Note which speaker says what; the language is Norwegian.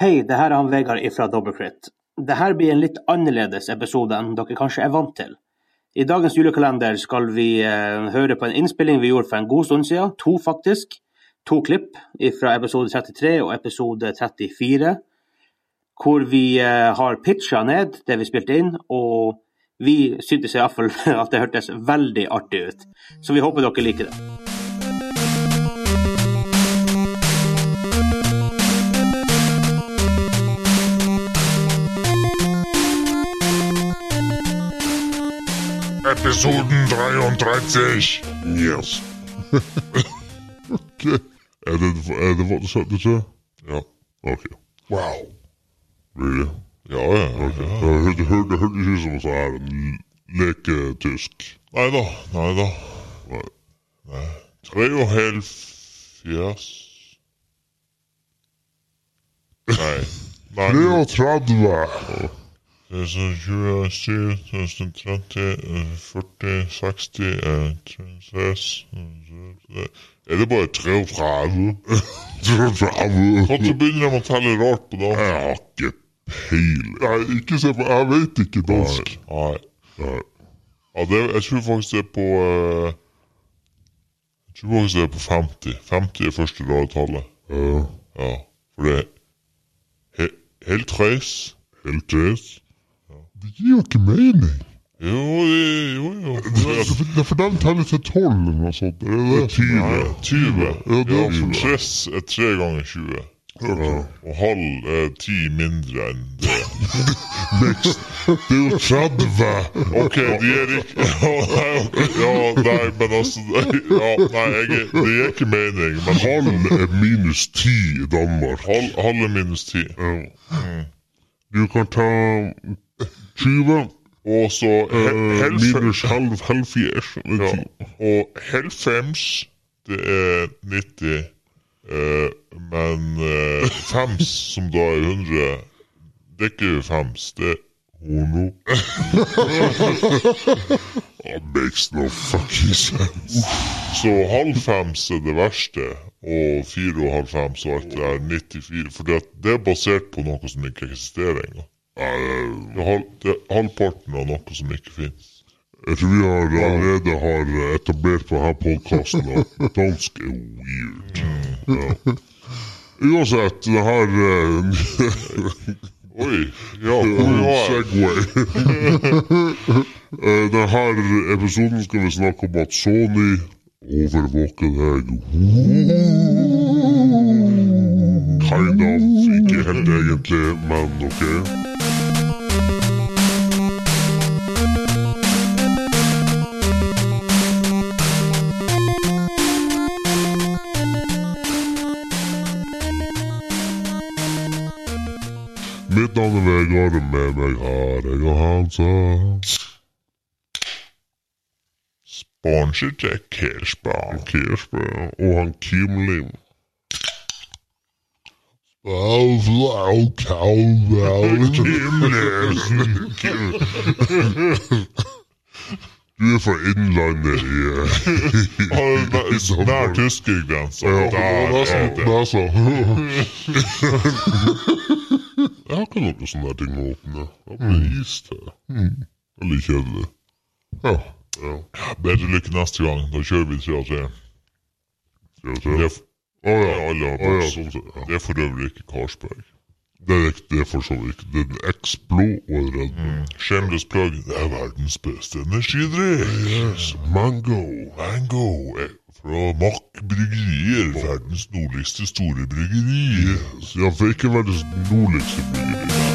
Speaker 1: Hei, det her er han Vegard ifra Dobbelkritt. Det her blir en litt annerledes episode enn dere kanskje er vant til. I dagens julekalender skal vi eh, høre på en innspilling vi gjorde for en god stund siden, to faktisk. To klipp fra episode 33 og episode 34, hvor vi eh, har pitcha ned det vi spilte inn, og vi syntes iallfall at det hørtes veldig artig ut. Så vi håper dere liker det.
Speaker 2: Episoden 33. Yes.
Speaker 3: Okay. Er det, er det wat zat tussen?
Speaker 2: Ja.
Speaker 3: Oké.
Speaker 2: Wow.
Speaker 3: Really?
Speaker 2: Ja, ja. ja.
Speaker 3: Oké. Okay. Het hørte ikke ut som så er en leketysk.
Speaker 2: Nei da. Nei da.
Speaker 3: Nei.
Speaker 2: Nei. 73 Nei. Nei.
Speaker 3: 33!
Speaker 2: 27, 27, 30, 40, 60, eh, 36 eh, Er det bare 33?
Speaker 3: 33!
Speaker 2: Kan du begynne med å telle rart på
Speaker 3: Jeg
Speaker 2: dansk?
Speaker 3: har ikke peiling. Nei, ikke se på Jeg vet ikke dansk.
Speaker 2: Nei.
Speaker 3: Nei.
Speaker 2: Ja, det, jeg tror faktisk det er på eh, Jeg tror faktisk det er på 50. 50 er første rare tallet.
Speaker 3: Ja.
Speaker 2: Ja. For det er he, helt reis.
Speaker 3: Helt greit. Det gir jo ikke mening.
Speaker 2: Jo, det- jo, jo. Det er
Speaker 3: For, for de teller til 12 eller noe sånt. Er det det?
Speaker 2: 20. 20.
Speaker 3: Ja, det
Speaker 2: Ja,
Speaker 3: er
Speaker 2: for
Speaker 3: 20.
Speaker 2: tress er 3 ganger 20.
Speaker 3: Ja.
Speaker 2: Og halv er 10 mindre enn det.
Speaker 3: Det er jo 30!
Speaker 2: Ok, de er ikke Ja, nei, ok. ja, nei men altså ja, Nei, jeg, er- det gir ikke mening. Men
Speaker 3: Halv er minus 10 i Danmark.
Speaker 2: halv, halv er minus 10.
Speaker 3: Ja. Eh, Du kan ta 20
Speaker 2: Og så he-
Speaker 3: eh,
Speaker 2: helfe-
Speaker 3: minus halv, halvfjerds.
Speaker 2: ja. Og helfems, det er 90. eh, men eh, fems, som da er 100, det er ikke fems, det er ono.
Speaker 3: That makes no fucking sense.
Speaker 2: Så halv fems er det verste, og fire og halv fems og alt det der, 94. For det, det er basert på noe som ikke eksisterer engang. Det er halv- det er halvparten av noe som ikke finnes.
Speaker 3: Jeg tror vi har allerede har etablert på her podkasten at dansk er weird. Ja. Uansett, det her eh,
Speaker 2: Oi, ja, hvor var jeg?
Speaker 3: Segway. Eh, det her episoden skal vi snakke om at Sony overvåker deg. Kind of. Ikke helt egentlig, men ok. Mitt navn er Vegard, og med meg har jeg og Hansa.
Speaker 2: Sponset er Kirschbaum.
Speaker 3: Kirsberg og han Kim Lim. Avlau Kalvau Kim Nesen. Du er fra Innlandet i
Speaker 2: Ja, det er Nær tyskergrensa. Der er det.
Speaker 3: Nesa. Jeg har ikke noe sånn der ting å åpne. Jeg
Speaker 2: Mm.
Speaker 3: blir is til. Veldig kjedelig. Ja. ja.
Speaker 2: Bedre lykke neste gang. Da kjører vi tre av tre.
Speaker 3: Skal vi
Speaker 2: Det
Speaker 3: se.
Speaker 2: er, f-
Speaker 3: Å ja.
Speaker 2: alle har
Speaker 3: Å ja,
Speaker 2: pass.
Speaker 3: sånn sett. Ja.
Speaker 2: Det er for øvrig ikke Karlsberg.
Speaker 3: Det er ikke det er for så vidt. Det er en Explo og en Red Bull.
Speaker 2: Mm. Shameless plug. Det er verdens beste energidrikk.
Speaker 3: Mango. eh,
Speaker 2: Mango er fra Mack Bryggerier. Verdens nordligste store bryggeri.
Speaker 3: Yes. Ja, for ikke verdens nordligste bryggeri.